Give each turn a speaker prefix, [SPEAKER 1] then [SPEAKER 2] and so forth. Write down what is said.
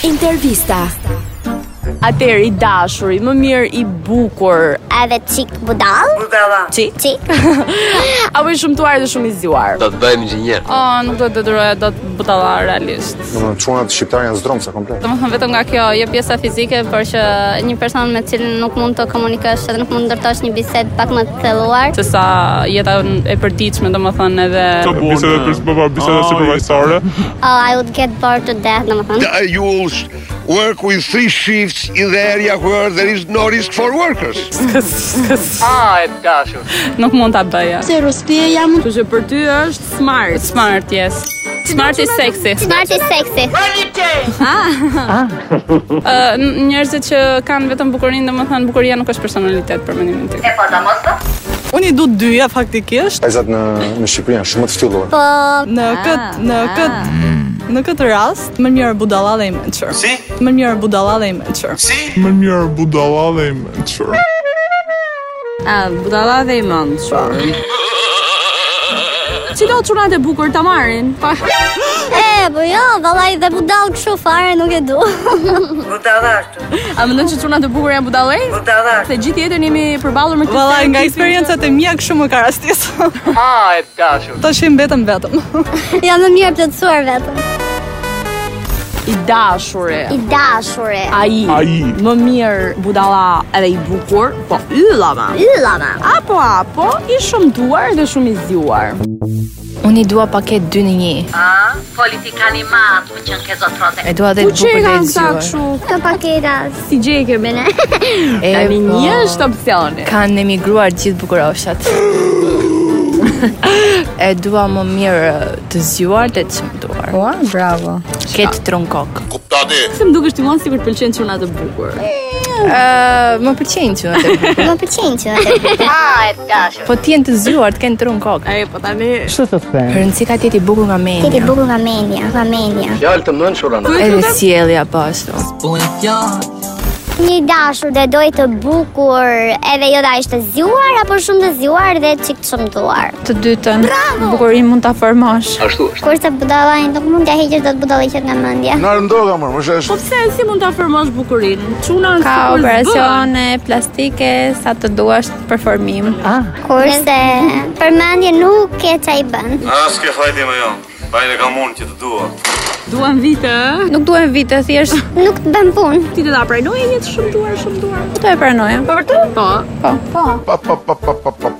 [SPEAKER 1] Intervista.
[SPEAKER 2] Atëherë i dashuri, më mirë i bukur,
[SPEAKER 3] Edhe qik budal
[SPEAKER 2] çik,
[SPEAKER 3] Qik
[SPEAKER 2] apo i shumtuar dhe shumë i zgjuar.
[SPEAKER 4] Do të bëhem inxhinier.
[SPEAKER 5] O, nuk do të detyroja dot butalla realisht.
[SPEAKER 6] Domethënë çunat shqiptar janë zdromsa komplet.
[SPEAKER 5] Domethënë vetëm nga kjo jo pjesa fizike, por që një person me cilin nuk mund të komunikosh edhe nuk mund të ndërtosh një bisedë pak më të thelluar.
[SPEAKER 7] se sa jeta e përditshme domethënë edhe
[SPEAKER 8] Biseda për baba, biseda si përvajsore.
[SPEAKER 3] Oh, I would get bored to death, domethënë.
[SPEAKER 9] You'll work with three shifts in the area where there is no risk for workers.
[SPEAKER 4] Ah, e dashur.
[SPEAKER 7] nuk mund ta bëja.
[SPEAKER 1] Se Rospia jam
[SPEAKER 2] Kështu që për ty është smart.
[SPEAKER 7] Smart yes. Smart is sexy.
[SPEAKER 3] Smart is sexy.
[SPEAKER 7] Ë, n- njerëzit që kanë vetëm bukurinë, domethënë bukuria nuk është personalitet për mendimin tim.
[SPEAKER 1] po,
[SPEAKER 10] Unë i du dyja faktikisht
[SPEAKER 6] Ajzat në në Shqipëri janë shumë të ftyllur.
[SPEAKER 3] Po,
[SPEAKER 10] në
[SPEAKER 1] Ah,
[SPEAKER 10] kët në kët në këtë rast më mirë budalla dhe i mençur. Si? Më mirë budalla dhe i mençur.
[SPEAKER 8] Më mirë budala dhe i mençur.
[SPEAKER 2] A, budalla dhe i mençur. Cila çunat e bukur ta marrin? Pa.
[SPEAKER 3] e, po jo, vallai dhe budal kështu fare nuk e du.
[SPEAKER 2] A mendon që çunat e bukur janë budallej? Budalla. Se gjithë jetën jemi përballur me këtë.
[SPEAKER 10] Valla nga
[SPEAKER 2] stereotipin
[SPEAKER 10] eksperiencat e mia kështu më ka rastis.
[SPEAKER 4] Ah, e dashur.
[SPEAKER 10] Tash i mbetëm vetëm.
[SPEAKER 3] Jam më mirë plotësuar vetëm.
[SPEAKER 2] I dashuri.
[SPEAKER 3] I dashuri.
[SPEAKER 2] Ai.
[SPEAKER 8] Ai.
[SPEAKER 2] Më mirë budalla edhe i bukur, po ylla ma.
[SPEAKER 3] Ylla ma.
[SPEAKER 2] Apo apo i shumtuar dhe shumë i zgjuar.
[SPEAKER 10] Unë i dua paket 2 në 1. E dua dhe të bukur dhe të zgjuar.
[SPEAKER 3] Ka paketa si gjekë me ne.
[SPEAKER 2] Tani
[SPEAKER 10] po.
[SPEAKER 2] një është opsioni.
[SPEAKER 10] Kanë emigruar gjithë bukuroshat. e dua më mirë të zgjuar dhe të çmtuar. Ua, bravo. Ket trunkok.
[SPEAKER 2] Se më dukesh ti mund sikur të pëlqen çunat e bukur.
[SPEAKER 10] Ë, më pëlqejnë çunat.
[SPEAKER 3] Më pëlqen që.
[SPEAKER 10] po ti janë të zgjuar, të kenë trun kokë.
[SPEAKER 2] Ai po tani
[SPEAKER 10] Rëndsi ka tjeti bukur nga
[SPEAKER 3] Ti ti
[SPEAKER 10] mendja.
[SPEAKER 3] bukur nga mendja, nga mendja.
[SPEAKER 4] Fjalë të mençura.
[SPEAKER 10] Edhe sjellja po ashtu.
[SPEAKER 3] Një i dashur dhe doj të bukur, edhe jo da ishte zjuar, apo shumë të zjuar dhe qik të shëmtuar.
[SPEAKER 10] Të dytën, bukurinë mund ta formosh.
[SPEAKER 4] Ashtu është.
[SPEAKER 3] Kurse budallajnë nuk mund të heqësh dot budalliqet nga mendja.
[SPEAKER 6] Na rëndoga më, më shesh.
[SPEAKER 2] pse si mund ta afirmosh bukurinë? Çuna
[SPEAKER 5] Ka operacione plastike sa të duash performim.
[SPEAKER 3] Kurse përmendje nuk e çaj bën.
[SPEAKER 9] Aske hajde më jon. Bajle kam unë që të dua.
[SPEAKER 2] Duan vite, ë?
[SPEAKER 5] Nuk duhen vite, thjesht
[SPEAKER 3] Nuk të bën punë.
[SPEAKER 2] ti do ta pranoj një të shumtuar, shumtuar.
[SPEAKER 5] këto e pranojmë.
[SPEAKER 2] Po vërtet? Po.
[SPEAKER 6] Pa pa pa pa pa pa pa